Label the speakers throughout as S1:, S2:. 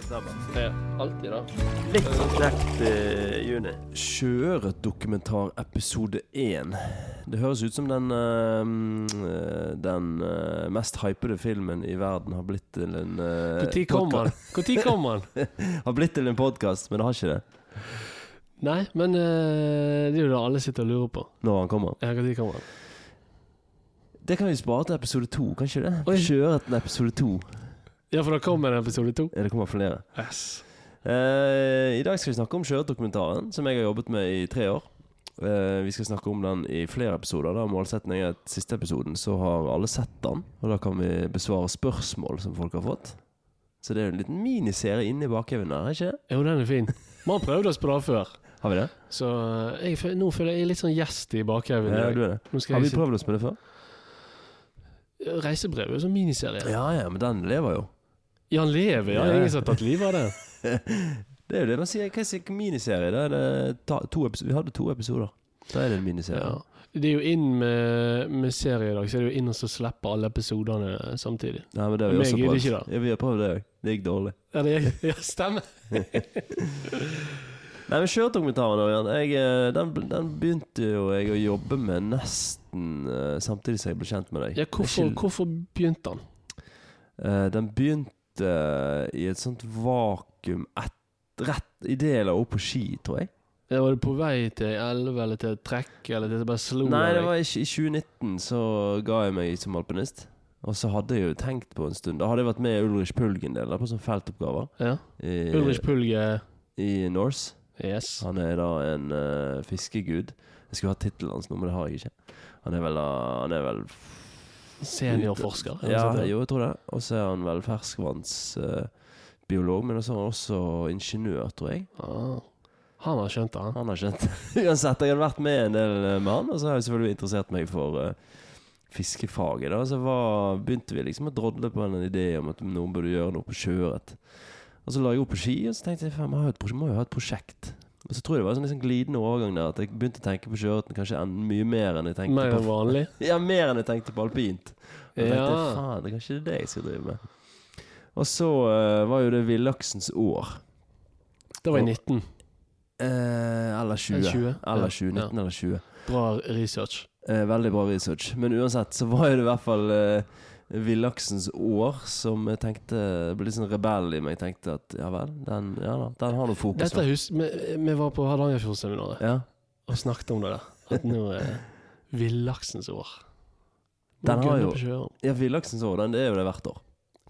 S1: Starbucks.
S2: Ja, alltid det.
S3: Litt sånn knekt eh, juni.
S4: Sjøørretdokumentar episode 1. Det høres ut som den eh, mm, eh, Den eh, mest hypede filmen i verden har blitt til en eh,
S2: Når kom
S4: podka-
S2: han? Når kom han?
S4: Har blitt til en podkast, men det har ikke det
S2: Nei, men eh, det er jo det alle sitter og lurer på.
S4: når han kommer.
S2: Ja, Når kom han?
S4: Det kan vi spare til episode to, kan ikke
S2: Oi.
S4: det? Sjøørreten episode to.
S2: Ja, for da kommer en episode to.
S4: Eh, Det kommer flere.
S2: Yes.
S4: Eh, I dag skal vi snakke om sjøørretdokumentaren, som jeg har jobbet med i tre år. Eh, vi skal snakke om den i flere episoder. Da målsettingen er at siste episoden så har alle sett den, og da kan vi besvare spørsmål som folk har fått. Så det er jo en liten miniserie inni bakheven der, er ikke det?
S2: Jo, den er fin. Man prøvde oss på det før,
S4: Har vi det?
S2: så eh, jeg, føl- nå føler jeg litt sånn gjest i bakhaugen. i
S4: Ja, Eh,
S2: dag.
S4: du er det.
S2: Nå skal
S4: Har
S2: jeg
S4: vi
S2: si-
S4: prøvd oss med det før?
S2: Reisebrev er jo sånn miniserie.
S4: Ja ja, men den lever jo.
S2: Jan lever, ja.
S4: Ja.
S2: Ingen som har tatt livet av det.
S4: Det er jo det man sier. Hva sier ikke miniserie? Da er det ta, to episoder. Vi hadde to episoder. Da er det en miniserie.
S2: Ja. Det er jo inn med, med serie i dag, så er det jo inn og så slipper alle episodene samtidig.
S4: Nei, men det har vi
S2: Men
S4: også
S2: jeg gidder
S4: prøvd.
S2: ikke, da.
S4: Ja, vi har prøvd det òg. Det gikk dårlig.
S2: Ja, det er, ja stemmer.
S4: Nei, men Sjøørretdokumentaren, Ørjan, jeg, eh, den, den begynte jo jeg å jobbe med nesten eh, samtidig som jeg ble kjent med deg.
S2: Ja, hvorfor,
S4: Ikke-
S2: hvorfor begynte han?
S4: Eh, den begynte eh, i et sånt vakuum et, rett idet jeg la opp på ski, tror jeg.
S2: Ja, Var du på vei til ei elv eller til et trekk eller til det bare slo
S4: Nei,
S2: av
S4: det
S2: deg?
S4: var i, i 2019 så ga jeg meg som alpinist. Og så hadde jeg jo tenkt på en stund Da hadde jeg vært med Ulrich Pulg en del, da, på sånne feltoppgaver.
S2: Ja.
S4: I,
S2: Ulrich Pulge.
S4: I Norse.
S2: Yes.
S4: Han er da en eh, fiskegud. Jeg skulle hatt tittelen hans nå, men det har jeg ikke. Han er vel, da- han er vel
S2: Seniorforsker. altså.
S4: Ja,
S2: eller noe sånt,
S4: jo, jeg tror det. Og så er han vel ferskvannsbiolog, men så er han også ingeniør, tror jeg.
S2: Ah. Han har skjønt det, han.
S4: Han har skjønt Uansett, jeg har vært med en del eh, med han, og så har jeg selvfølgelig interessert meg for eh, fiskefaget. da Så var, begynte vi liksom å drodle på en idé om at noen burde gjøre noe på sjøørret. Og så la jeg opp på ski, og så tenkte jeg faen, jeg må jo ha et prosjekt. Og så tror jeg det var en sånn liksom glidende overgang der at jeg begynte å tenke på sjøørreten kanskje en, mye mer enn jeg tenkte
S2: Mer enn
S4: på
S2: vanlig.
S4: Ja, mer enn jeg tenkte på alpint. Og jeg tenkte
S2: Ja.
S4: faen, det er kanskje det jeg skal drive med. Og så eh, var jo det villaksens år.
S2: Det var i 19.
S4: Eh, eller 20.
S2: Eller 20, ja.
S4: Eller 20, 19 eller 20.
S2: Bra research.
S4: Eh, veldig bra research. Men uansett så var jo det i hvert fall eh, villaksens år som jeg tenkte ble litt sånn rebell i meg. Jeg tenkte at ja vel, den, ja, da, den har noe fokus.
S2: Dette
S4: da.
S2: hus, vi, vi var på Hardangerfjordseminaret
S4: ja.
S2: og snakket om det der. At nå er villaksens år. Nå
S4: Den har
S2: gønner
S4: jo-
S2: på sjøen.
S4: ja, villaksens år, den det er jo det hvert år.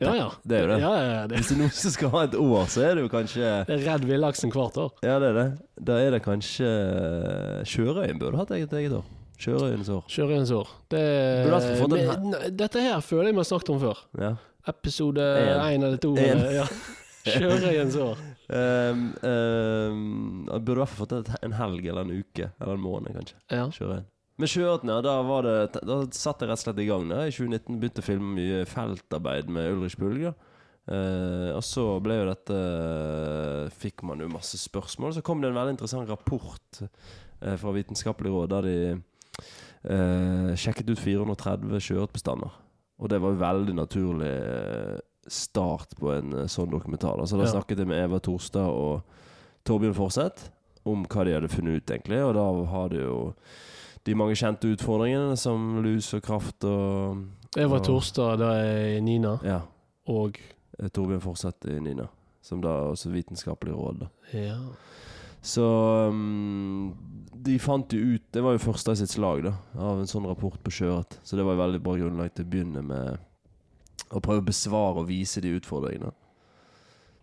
S2: Ja, ja.
S4: Det er jo det.
S2: Ja, ja, ja, det.
S4: Hvis det er noen som skal ha et år, så er det jo kanskje
S2: Det er redd villaksen hvert år.
S4: Ja, det er det. Da er det kanskje eh, Sjørøyen burde hatt eget eget år. Sjørøyens år.
S2: Sjørøyens år. Det,
S4: Burde hatt fått en her-
S2: Men, nei, dette her føler jeg vi har snakket om før.
S4: Ja.
S2: Episode
S4: En.
S2: én eller to.
S4: En.
S2: eller- Ja. Sjørøyens år.
S4: Um, um, jeg burde i hvert fall fått et- en helg eller en uke eller en måned, kanskje.
S2: Ja.
S4: Sjøørret. Men sjøørreten, ja. Da, var det, da satt jeg rett og slett i gang. Da. I 2019 begynte jeg å filme mye feltarbeid med Ulrich Bulger. og så ble jo dette Fikk man jo masse spørsmål. Så kom det en veldig interessant rapport eh, fra Vitenskapelig råd der de eh, sjekket ut 430 sjøørretbestander. Og det var jo veldig naturlig eh, start på en eh, sånn dokumentar. Da. Så da
S2: Ja.
S4: snakket jeg med Eva Torstad og Torbjørn Forseth om hva de hadde funnet ut, egentlig. Og da har det jo de mange kjente utfordringene, som lus og kraft og
S2: Det var
S4: Ja.
S2: torsdag, da er Nina
S4: Ja,
S2: og
S4: eh, Torbjørn Forseth i Nina. Som da er også Vitenskapelig råd. da.
S2: Ja.
S4: Så um, de fant jo ut Det var jo første i sitt slag da av en sånn rapport på sjøørret. Så det var jo veldig bra grunnlag til å begynne med å prøve å besvare og vise de utfordringene.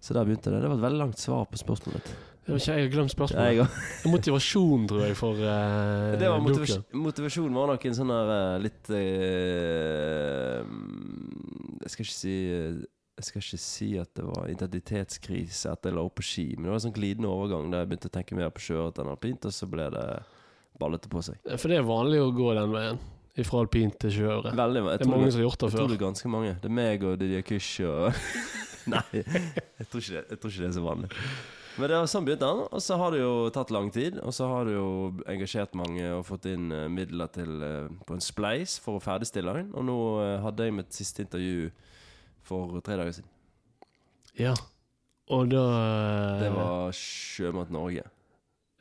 S4: Så der begynte det. Det var et veldig langt svar på spørsmålet ditt.
S2: Det var ikke, jeg har glemt
S4: Ja,
S2: spørsmålet.
S4: jeg,
S2: Motivasjon, tror jeg, for eh,
S4: det var motivas
S2: boken.
S4: motivasjonen var nok en sånn der eh, litt eh, mm, Jeg skal ikke si eh, Jeg skal ikke si at det var identitetskrise etter jeg la opp på ski, men det var en sånn glidende overgang der jeg begynte å tenke mer på sjøørret enn alpint, og så ble det ballete på seg.
S2: For det er vanlig å gå den veien. Fra alpint til sjøøre.
S4: Veldig jeg
S2: Det er
S4: tror
S2: mange
S4: det,
S2: som har gjort det
S4: jeg tror
S2: før.
S4: det er ganske mange. Det er meg og Didier Kysch og Nei, jeg tror, ikke det, jeg tror ikke det er så vanlig. Men det var sånn begynte han, og så har det jo tatt lang tid. Og så har det jo engasjert mange og fått inn eh, midler til, eh, på en spleis for å ferdigstille den. Og nå eh, hadde jeg mitt siste intervju for tre dager siden.
S2: Ja. Og da
S4: Det
S2: Eh.
S4: var Sjømat Norge.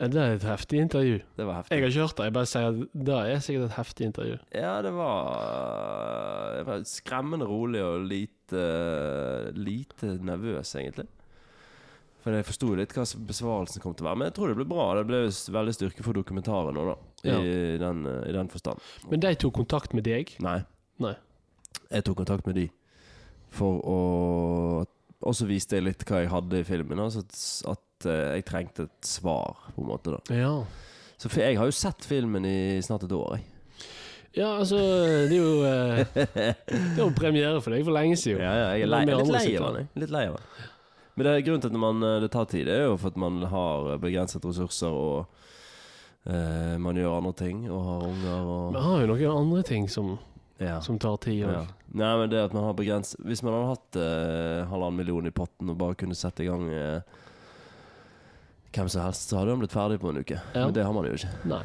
S2: Ja, Det er et heftig intervju.
S4: Det var heftig.
S2: Jeg har ikke hørt det. Jeg bare sier at det er sikkert et heftig intervju.
S4: Ja, det var, det var skremmende rolig og lite, lite nervøs, egentlig. For jeg forsto litt hva som- besvarelsen kom til å være. Men jeg tror det ble bra. Det ble jo s- veldig styrke for dokumentaren nå, da. I, den, eh, I den forstand.
S2: Men de tok kontakt med deg.
S4: Nei.
S2: Nei.
S4: Jeg tok kontakt med de for å Og så viste jeg litt hva jeg hadde i filmen. Altså at, s- at eh, jeg trengte et svar, på en måte. da
S2: Ja.
S4: Så for jeg har jo sett filmen i snart et år, jeg.
S2: ja, altså Det er jo eh, Det er jo premiere for deg for lenge siden.
S4: Ja, ja, jeg er
S2: Men
S4: lei, jeg
S2: vi
S4: er litt
S2: alle
S4: lei
S2: sitter
S4: av
S2: der.
S4: den. jeg. Litt lei av den. Men det er grunnen til at man, eh, det tar tid, det er jo for at man har eh, begrenset ressurser, og eh, man gjør andre ting, og har unger og
S2: Vi har jo noen andre ting som,
S4: ja.
S2: som tar tid.
S4: ja.
S2: Ja.
S4: Nei, men det at man har begrens... Hvis man hadde hatt eh, halvannen million i potten og bare kunne sette i gang eh, hvem som helst, så hadde man blitt ferdig på en uke.
S2: Ja.
S4: Men det har man jo ikke.
S2: Nei.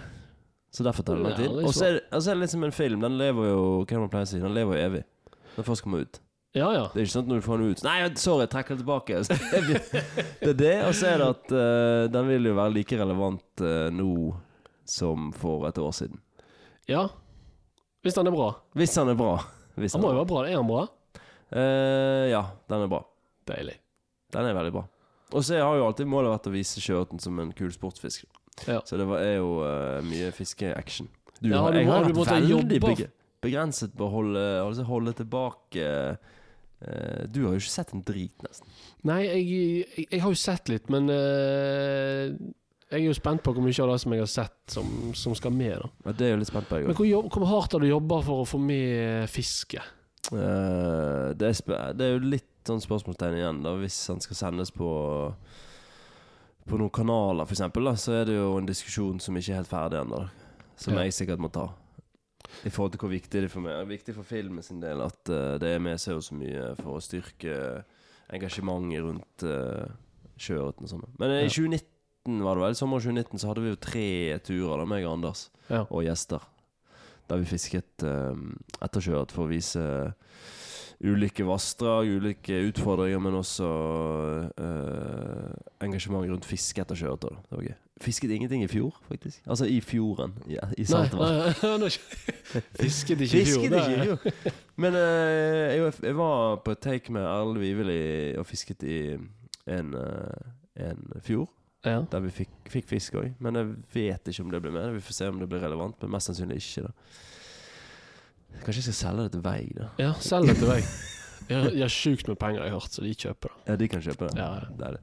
S4: Så derfor tar det lang tid.
S2: Ja, det er
S4: Og så er, det- og så er det litt som en film. Den lever jo hva er det man pleier å si, den lever jo evig. Når den først kommer ut.
S2: Ja, ja.
S4: Det er ikke sånn at når du får den ut Nei, sorry, jeg trekker den tilbake. Så Det er det. Og så er det at eh, den vil jo være like relevant eh, nå som for et år siden.
S2: Ja. Hvis den er bra.
S4: Hvis den er bra. Hvis
S2: Han
S4: den
S2: må
S4: er
S2: jo
S4: bra.
S2: være bra. Er han bra?
S4: Eh, ja, den er bra.
S2: Deilig.
S4: Den er veldig bra. Og så har jo alltid målet vært å vise sjøørten som en kul sportsfisk.
S2: Ja.
S4: Så det var, er jo eh, mye fiskeaction. Du,
S2: Ja,
S4: har-
S2: du
S4: jeg
S2: må-
S4: har
S2: du
S4: vært
S2: måtte
S4: veldig
S2: jobbe.
S4: beg- begrenset på å holde, altså holde tilbake eh, Du har jo ikke sett en drit, nesten.
S2: Nei, jeg, jeg, jeg har jo sett litt, men eh, jeg er jo spent på hvor mye av det som jeg har sett, som, som skal med. da
S4: Ja, det er jo litt spent på, jeg òg.
S2: Men hvor, jobb, hvor hardt har du jobba for å få med fiske?
S4: Eh, det, er sp- det er jo litt sånn spørsmålstegn igjen, da, hvis han skal sendes på På noen kanaler, f.eks., så er det jo en diskusjon som ikke er helt ferdig ennå. da, Som
S2: Ja.
S4: jeg sikkert må ta. I forhold til hvor viktig det er for meg. Det er viktig for filmen sin del at eh, det er med seg jo så mye for å styrke engasjementet rundt uh, sjøørreten og sånn. Men eh,
S2: Ja.
S4: i 2019 var det vel, sommer 2019 så hadde vi jo tre turer, da, meg og Anders
S2: Ja.
S4: og gjester. Der vi fisket eh, etter sjøørret for å vise ulike vassdrag, ulike utfordringer, men også eh, engasjement rundt fiske etter sjøørret. da. Det var gøy. Fisket ingenting i fjor, faktisk. Altså i fjorden. Ja, I
S2: Nei,
S4: saltvann.
S2: nei, han har ikke- Fisket ikke i fjor.
S4: Fisket
S2: det-
S4: ikke i fjor. Men eh, jeg, jeg var på et take med Erlend Viveli og fisket i en, eh, en fjord.
S2: Ja.
S4: Der vi fikk, fikk fisk òg. Men jeg vet ikke om det blir med. Vi får se om det blir relevant, men mest sannsynlig ikke. da Kanskje jeg skal selge det til Vei, da.
S2: ja, selg det til meg. Jeg har- jeg har sjukt med penger, jeg har hørt, så de kjøper det.
S4: Ja, de kan kjøpe det.
S2: Ja, ja.
S4: Det er det.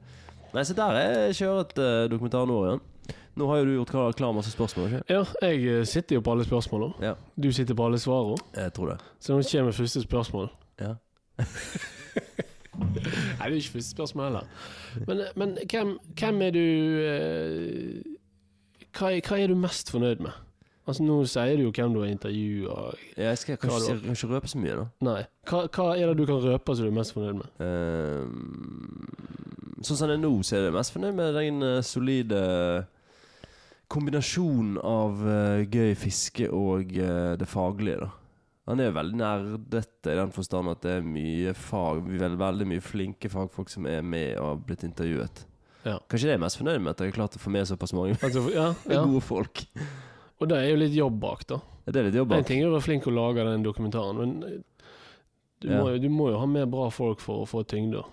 S4: Nei, se der jeg kjører et eh, dokumentar nå igjen. Nå har jo du gjort klar, klar masse spørsmål, ikke
S2: Ja, jeg eh, sitter jo på alle spørsmålene.
S4: Ja.
S2: Du sitter på alle svarene.
S4: Jeg tror det.
S2: Så nå kommer første spørsmål.
S4: Ja.
S2: Nei, det er ikke første spørsmål heller. Men, eh, men hvem, hvem er du eh, hva, er, hva er du mest fornøyd med? Altså Nå sier du jo hvem du har intervjua.
S4: Jeg skal
S2: Hva
S4: kanskje,
S2: da?
S4: jeg kan ikke røpe så mye, da.
S2: Nei. Hva, hva er det du kan røpe som du er mest fornøyd med?
S4: Ehm, sånn som det er nå, så er jeg mest fornøyd med den eh, solide kombinasjonen av eh, gøy fiske og eh, det faglige, da. Han er jo veldig nerdete i den forstand at det er mye fag, vel, veldig mye flinke fagfolk som er med og har blitt intervjuet.
S2: Ja.
S4: Kanskje det er jeg mest fornøyd med, at jeg har klart å få med såpass mange
S2: Altså, ja, ja.
S4: gode folk.
S2: Og det er jo litt jobb bak, da.
S4: Det er litt jobb.
S2: En
S4: bak.
S2: ting er å være flink å lage den dokumentaren, men eh, du,
S4: Ja.
S2: må, jo- du må jo ha med bra folk for å få tyngde.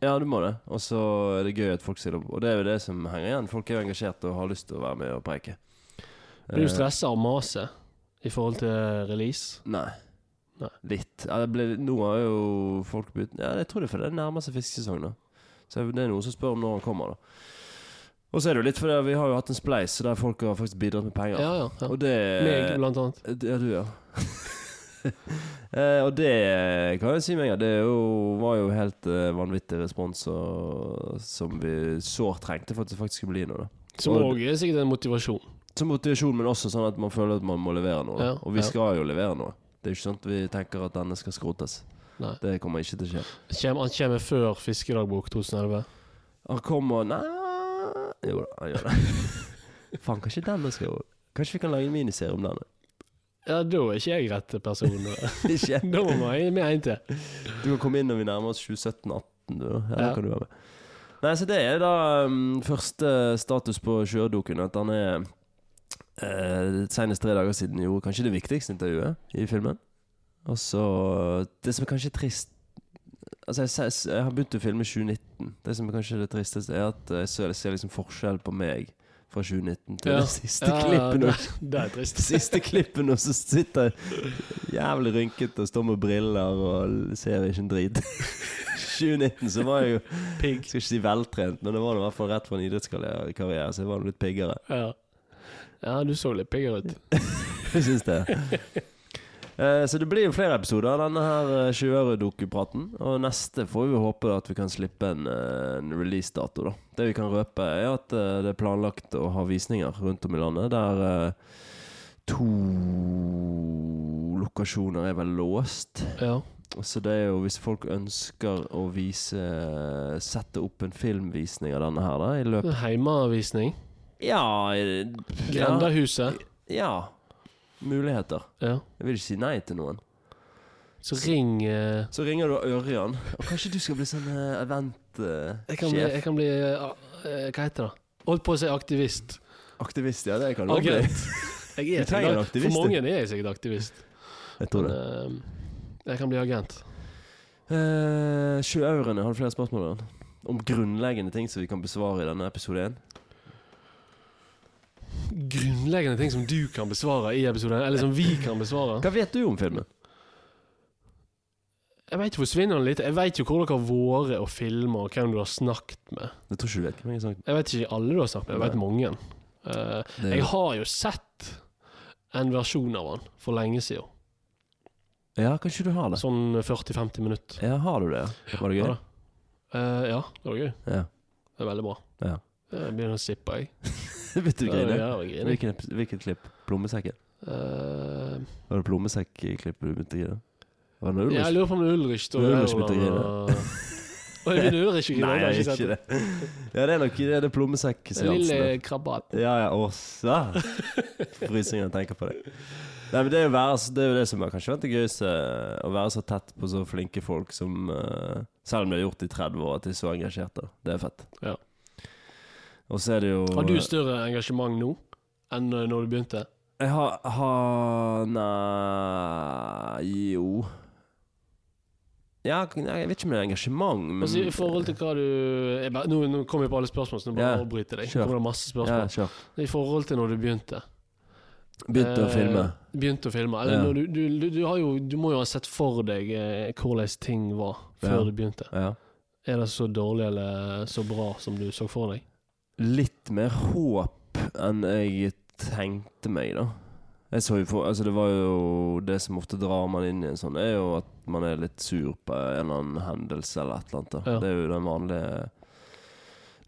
S4: Ja, du må det. Og så er det gøy at folk stiller opp. Og det er jo det som henger igjen. Folk er jo engasjert og har lyst til å være med og preike.
S2: Blir du
S4: Eh,
S2: stressa av maset i forhold til release?
S4: Nei.
S2: Nei.
S4: Litt. Ja, det ble, nå har jo folk begynt ja, Jeg tror det er fordi det nærmer seg fiskesesong. da Så det er noen som spør om når han kommer. da Og så er det jo litt fordi vi har jo hatt en spleis der folk har faktisk bidratt med
S2: Ja,
S4: penger.
S2: ja. ja.
S4: Og det
S2: Meg, blant annet.
S4: Ja, du, ja. Eh, og det kan jeg si meg, ja, det er jo, var jo helt eh, vanvittig respons og, som vi sårt trengte for at det faktisk skulle bli noe. da
S2: Som
S4: og-
S2: òg er sikkert en motivasjon.
S4: som motivasjon, men også sånn at man føler at man må levere noe. da.
S2: Ja,
S4: og vi
S2: ja.
S4: skal jo levere noe. Det er ikke sånn at vi tenker at denne skal skrotes.
S2: Nei.
S4: Det kommer ikke til å skje.
S2: Kjem, han kommer før Fiskedagbok 2011.
S4: Han kommer Nei Jo da, han gjør det. Faen, kanskje denne skal jo Kanskje vi kan lage en miniserie om denne?
S2: Ja, da er ikke jeg rett person. Da,
S4: Ikke?
S2: da må man ha med en til.
S4: Du kan komme inn når vi nærmer oss 2017-18, du. da. Ja, da
S2: Ja.
S4: kan du være med. Nei, så det er da um, første status på sjødokken. At han er uh, Senest tre dager siden gjorde kanskje det viktigste intervjuet i filmen. Og så Det som er kanskje trist Altså, jeg, ser- jeg har begynt å filme i 2019. Det som er kanskje det tristeste, er at jeg ser, jeg ser liksom forskjell på meg fra 2019 til
S2: Ja.
S4: det siste klippet. nå.
S2: det, det er trist.
S4: Siste klippet nå, så sitter jeg jævlig rynket og står med briller og ser ikke en drit. 2019 så var jeg jo
S2: Pigg.
S4: skal ikke si veltrent, men det var nå i hvert fall rett fra en idrettskarriere, så jeg var nå litt piggere.
S2: Ja. ja, du så litt piggere ut.
S4: Jeg syns det. Eh, Så det blir jo flere episoder av denne her eh, 20-øre-dokupraten. Og neste får vi håpe at vi kan slippe en, eh, en releasedato, da. Det vi kan røpe, er at eh, det er planlagt å ha visninger rundt om i landet der eh, to lokasjoner er vel låst.
S2: Ja.
S4: Så det er jo hvis folk ønsker å vise Sette opp en filmvisning av denne her, da, i løpet
S2: Heimeavvisning.
S4: Ja, i- ja,
S2: Grendahuset.
S4: ja. Muligheter.
S2: Ja.
S4: Jeg vil ikke si nei til noen.
S2: Så ring eh,
S4: Så ringer du Ørjan, og kanskje du skal bli sånn eh,
S2: jeg, kan bli,
S4: event-sjef?
S2: jeg kan bli eh, eh, Hva heter det? Holdt på å si aktivist.
S4: Aktivist, ja. Det kan du også bli.
S2: Agent. Jeg
S4: Du trenger en
S2: sikkert-
S4: aktivist,
S2: For
S4: du.
S2: mange er jeg sikkert aktivist.
S4: Jeg tror det.
S2: Men, eh, jeg kan bli agent.
S4: Eh, 20 eurene, har du flere spørsmål Ørjan? om grunnleggende ting som vi kan besvare i denne episode 1?
S2: Grunnleggende ting som du kan besvare i episoden, eller som vi kan besvare.
S4: Hva vet du om filmen?
S2: Jeg veit jo forsvinnende litt. Jeg veit jo hvor dere har vært og filma, og hvem du har snakket med.
S4: Jeg tror ikke du vet hvem jeg har sagt.
S2: Jeg vet ikke alle du har snakket med, jeg vet mange. Eh,
S4: Det
S2: jeg
S4: er-
S2: har jo sett en versjon av han for lenge siden.
S4: Ja, kanskje du har det.
S2: Sånn 40-50 minutter.
S4: Ja, har du det? ja? Var det
S2: Ja,
S4: gøy?
S2: da. Eh, ja, det var gøy.
S4: Ja.
S2: Det er veldig bra. Eh,
S4: Ja.
S2: Jeg begynner å sippe, jeg.
S4: Vet du
S2: Ja,
S4: greiene?
S2: ja, jeg griner.
S4: Hvilken, epi- hvilket klipp? Plommesekken?
S2: Eh,
S4: Var det plommesekk-klippet du begynte å grine? Var det
S2: jeg
S4: Ulrich?
S2: lurer på om det er Ulrich står
S4: Ulrich begynte å grine.
S2: og Og jeg begynner Ulrich å grine.
S4: Nei,
S2: jeg har ikke sett
S4: ikke
S2: det.
S4: det. Ja, det er nok det er det
S2: Den Lille
S4: plommesekk-seansen.
S2: krabat.
S4: Ja, ja, åssa! Frysing når jeg tenker på det. Nei, men det er jo, være, så- det, er jo det som har kanskje vært det gøyeste. eh, Å være så tett på så flinke folk som eh, Selv om de har gjort det i 30 år, at de er så engasjerte. Det er fett.
S2: Ja.
S4: Og eh, så er det jo
S2: Har du større engasjement nå enn eh, når du begynte?
S4: Jeg har, har Nei Jo. Ja, k- nei, jeg vet ikke om det er engasjement, men
S2: Altså, I forhold til hva du jeg bare, Nå, nå kommer jeg på alle spørsmål, så nå
S4: Ja,
S2: bare avbryter jeg deg.
S4: kjør.
S2: Nå kommer det masse
S4: ja,
S2: spørsmål.
S4: kjør.
S2: I forhold til når du begynte.
S4: Begynte å
S2: Eh,
S4: filme.
S2: Begynte å filme. Eller
S4: Ja.
S2: når du, du, du, du, har jo, du må jo ha sett for deg eh, hvordan ting var før
S4: Ja.
S2: du begynte.
S4: Ja.
S2: Er det så dårlig eller så bra som du så for deg?
S4: litt mer håp enn jeg tenkte meg, da. Jeg så jo for, altså det var jo Det som ofte drar man inn i en sånn, er jo at man er litt sur på en eller annen hendelse eller et eller annet. Da.
S2: Ja.
S4: Det er jo den vanlige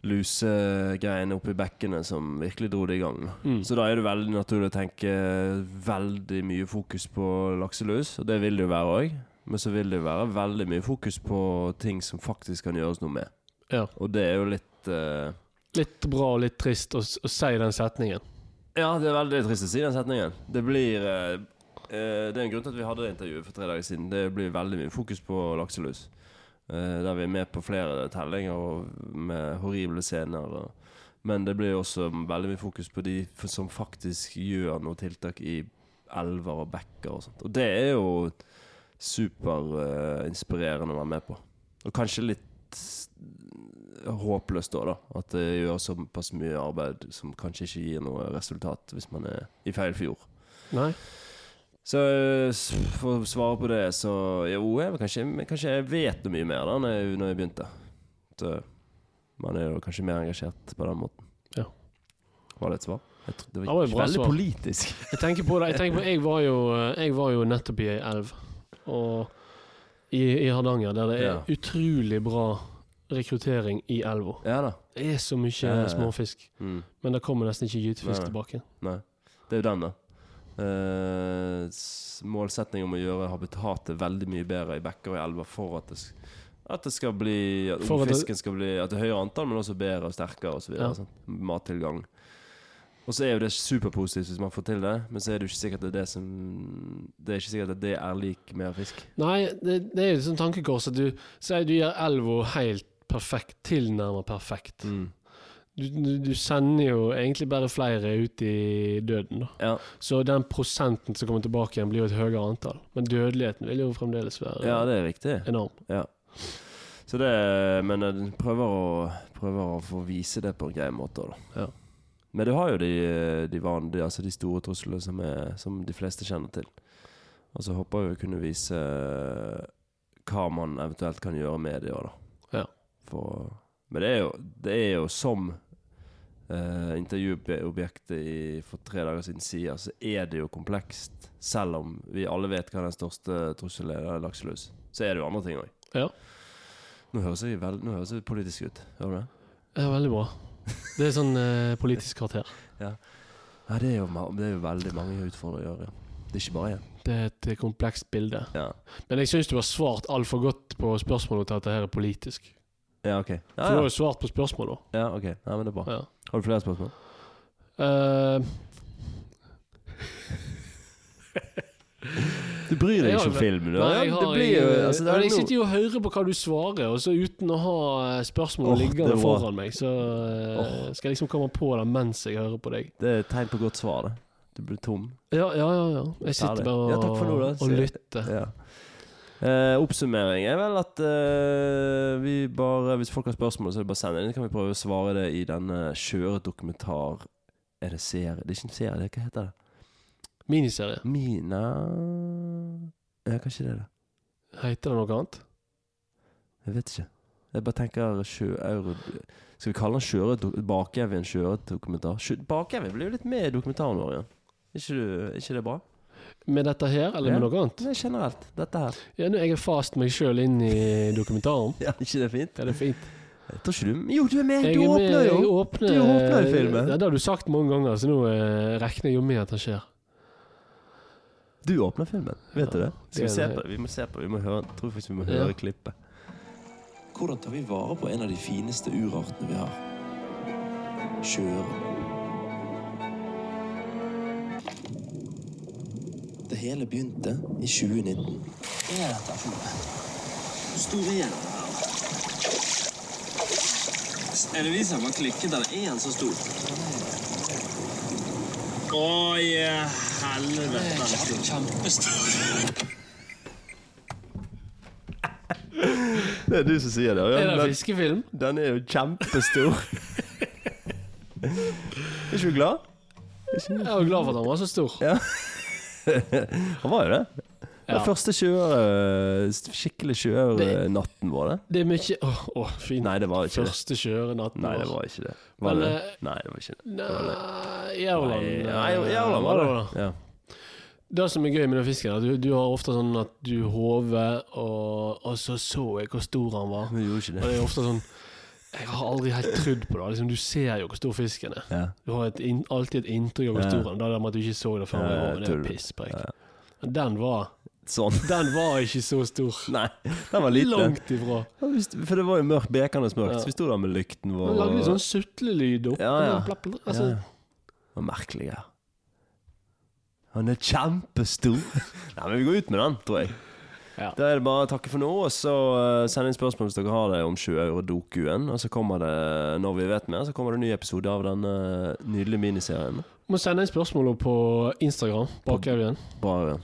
S4: lusegreiene oppi bekkene som virkelig dro det i gang.
S2: Mm.
S4: Så da er det veldig naturlig å tenke veldig mye fokus på lakselus, og det vil det jo være òg. Men så vil det jo være veldig mye fokus på ting som faktisk kan gjøres noe med.
S2: Ja.
S4: Og det er jo litt eh,
S2: Litt bra og litt trist å, s- å si den setningen.
S4: Ja, det er veldig trist å si den setningen. Det blir eh, eh, Det er en grunn til at vi hadde det intervjuet for tre dager siden. Det blir veldig mye fokus på lakselus. Eh, der vi er med på flere tellinger og med horrible scener. Og, men det blir også veldig mye fokus på de f- som faktisk gjør noe tiltak i elver og bekker og sånt. Og det er jo superinspirerende å være med på. Og kanskje litt s- håpløst da, da. At det gjør såpass mye arbeid som kanskje ikke gir noe resultat hvis man er i feil fjord.
S2: Nei?
S4: Så eh, s- for å svare på det, så jo, jeg, vil kanskje, men kanskje jeg vet noe mye mer da når jeg, når jeg begynte. Så man er jo kanskje mer engasjert på den måten.
S2: Ja.
S4: Var det et svar? Jeg tror, det
S2: Det var
S4: var
S2: et
S4: ikke
S2: bra
S4: veldig
S2: svar.
S4: politisk.
S2: Jeg tenker på det. Jeg, tenker på, jeg, var, jo, eh, jeg var jo nettopp i ei elv og i, i Hardanger, der det er
S4: Ja.
S2: utrolig bra rekruttering i elva.
S4: Ja da.
S2: Det er så mye
S4: Ja, ja, ja.
S2: småfisk,
S4: Mm.
S2: men det kommer nesten ikke gytefisk
S4: Nei.
S2: tilbake.
S4: Nei. Det er jo den, da. Eh, s- målsetning om å gjøre habitatet veldig mye bedre i bekker og i elver for at det, s- at det skal bli At
S2: For at det-
S4: fisken skal bli At det er høyere antall, men også bedre og sterkere osv.
S2: Ja.
S4: videre sant? Mattilgang. Og så er jo det superpositivt hvis man får til det, men så er det jo ikke sikkert det er det som Det er ikke sikkert at det er lik mer fisk.
S2: Nei, det, det er jo et sånt tankekors at du sier du gjør elva helt perfekt, tilnærmet perfekt.
S4: Mm.
S2: Du, du, du sender jo egentlig bare flere ut i døden, da.
S4: Ja.
S2: Så den prosenten som kommer tilbake igjen, blir jo et høyere antall. Men dødeligheten vil jo fremdeles være
S4: ja, det er riktig.
S2: enorm.
S4: Så det, men jeg prøver å, prøver å få vise det på en grei måte. Da.
S2: Ja.
S4: Men du har jo de, de vanlige, altså de store truslene som, er, som de fleste kjenner til. Og så håper jeg å kunne vise eh, hva man eventuelt kan gjøre med det. Da.
S2: Ja.
S4: For, men det er jo, det er jo som eh, intervjuobjektet i- for tre dager siden sier, så er det jo komplekst. Selv om vi alle vet hva den største trusselen er, det er lakselus. Så er det jo andre ting òg.
S2: Ja.
S4: Nå høres jeg, vel, nå høres jeg politisk ut. Hører du det?
S2: Det er veldig bra. Det er sånn eh, politisk kvarter.
S4: Nei, det er jo, ma- det er jo veldig mange utfordringer. Ja. Det er ikke bare én.
S2: Det er et eh, komplekst bilde.
S4: Ja.
S2: Men jeg syns du har svart altfor godt på spørsmålet til at det her er politisk.
S4: ja, ok. Ja,
S2: For du har
S4: ja.
S2: jo svart på spørsmålet.
S4: ja ok. Nei, men det er bra.
S2: Ja.
S4: Har du flere spørsmål?
S2: Eh,
S4: Du bryr
S2: Jeg
S4: deg
S2: har
S4: ikke om
S2: jo-
S4: filmen? du.
S2: nei,
S4: Ja,
S2: jeg,
S4: det
S2: har,
S4: blir
S2: jeg,
S4: jo altså, det
S2: men
S4: er
S2: jeg
S4: jo
S2: sitter jo og hører på hva du svarer, og så uten å ha eh, spørsmålet
S4: Åh,
S2: liggende
S4: det var-
S2: foran meg, så eh, skal jeg liksom komme på det mens jeg hører på deg.
S4: noe- det er et tegn på godt svar, det. Du blir tom.
S2: Ja, ja, ja. ja. Jeg sitter
S4: Herlig.
S2: bare og,
S4: Ja, takk for nå, da.
S2: og
S4: Sier-
S2: lytter.
S4: Ja. Eh, oppsummering er vel at eh, vi bare Hvis folk har spørsmål, så er det bare å sende inn. Så kan vi prøve å svare det i denne skjøre dokumentar... Er det serie? Det er ikke en serie, det, hva heter det?
S2: Miniserie.
S4: Mina Ja, kanskje det, da.
S2: Heter det noe annet?
S4: Jeg vet ikke. Jeg bare tenker sjøeuro... Skal vi kalle den sjøre- Bakevjen sjøørretdokumentar? Sjø- Bakevjen blir jo litt med i dokumentaren vår igjen. Er ikke, du- ikke det bra?
S2: Med dette her, eller med
S4: Ja.
S2: noe annet?
S4: Det er generelt, dette her.
S2: Ja, nå er jeg fast meg sjøl inn i dokumentaren.
S4: Ja, ikke det er fint?
S2: Er det fint?
S4: Jeg tror ikke du Jo, du er med!
S2: Jeg
S4: Eh, Du
S2: er med-
S4: åpner
S2: Jeg
S4: jo!
S2: åpner,
S4: Du åpner jo filmen.
S2: Ja, det har du sagt mange ganger, så nå eh, regner jeg jo med at det skjer.
S4: Du åpner filmen, vet du det? Skal vi
S2: det er
S4: se
S2: det.
S4: på det? Vi må se på det. Vi må høre, jeg tror faktisk vi må
S2: Ja.
S4: høre klippet. Hvordan tar vi vare på en av de fineste urartene vi har? Sjøøren. Det hele begynte i 2019.
S1: Hva er dette for noe? Store gjerder her. Er det vi som har klikket, eller er han så stor? Å, i helvete. Kjempestor.
S4: Det er du som sier det.
S2: Er
S4: Ja.
S2: det
S4: Den,
S2: fiskefilm?
S4: den er jo kjempestor. er ikke du glad?
S2: Jeg er jo glad for at han var så stor.
S4: Han var jo det.
S2: Ja.
S4: Den første sjøøre- skikkelig sjøørnatten var det.
S2: Det er mye Åh, åh, fint.
S4: Nei, det var ikke det.
S2: Første kjørenatten.
S4: Nei, det var ikke det. Var det?
S2: Men,
S4: det? Nei, det var ikke det.
S2: Nei, I Aurland.
S4: Nei,
S2: eh,
S4: nei, Jævland var det. Ja.
S2: Det som er gøy med den fisken, er at du, du har ofte sånn at du hover, og, og så så jeg hvor stor han var.
S4: Men vi gjorde ikke
S2: Og
S4: det.
S2: det er ofte sånn Jeg har aldri helt trodd på det. Liksom, du ser jo hvor stor fisken er.
S4: Ja.
S2: Du har et inn, alltid et inntrykk av hvor
S4: Ja.
S2: stor den er. Det der med at du ikke så det
S4: Ja,
S2: før. Ja,
S4: jeg
S2: det er
S4: tror det.
S2: pisspreik.
S4: Ja.
S2: Men den var,
S4: Sånn.
S2: den var ikke så stor.
S4: Nei, den var liten.
S2: Langt ifra.
S4: Ja, vi st- For det var jo mørkt, bekende mørkt.
S2: Ja.
S4: Så vi sto der med lykten vår.
S2: Den lagde litt
S4: og-
S2: sånn sutlelyd opp.
S4: Ja, ja.
S2: Blapp, blapp,
S4: Ja,
S2: altså,
S4: ja. Det var merkelig, ja. Han er kjempestor. Nei, men vi går ut med den, tror jeg.
S2: Ja.
S4: Da er det bare å takke for nå, og så eh, send inn spørsmål hvis dere har det om 20-euro-dokuen. Og så kommer det, når vi vet mer, så kommer det en ny episode av den eh, nydelige miniserien.
S2: Må sende inn spørsmål på Instagram. Bakevjen.
S4: Bra,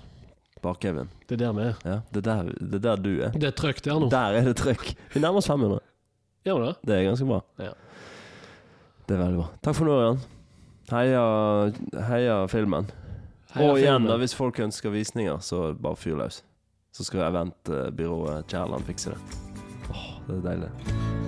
S4: Bakevjen.
S2: Det er der vi er.
S4: Ja, det er der, det er der du er.
S2: Det er trøkk der nå.
S4: Der er det trøkk. Vi nærmer oss 500.
S2: Gjør vi det?
S4: Det er ganske bra.
S2: Ja.
S4: Det er veldig bra. Takk for nå, Ørjan. Heia, heia filmen. og igjen, da, hvis folk ønsker visninger, så bare fyr eh, løs. Så skal eventbyrået Kjærland fikse det. Åh, det er deilig.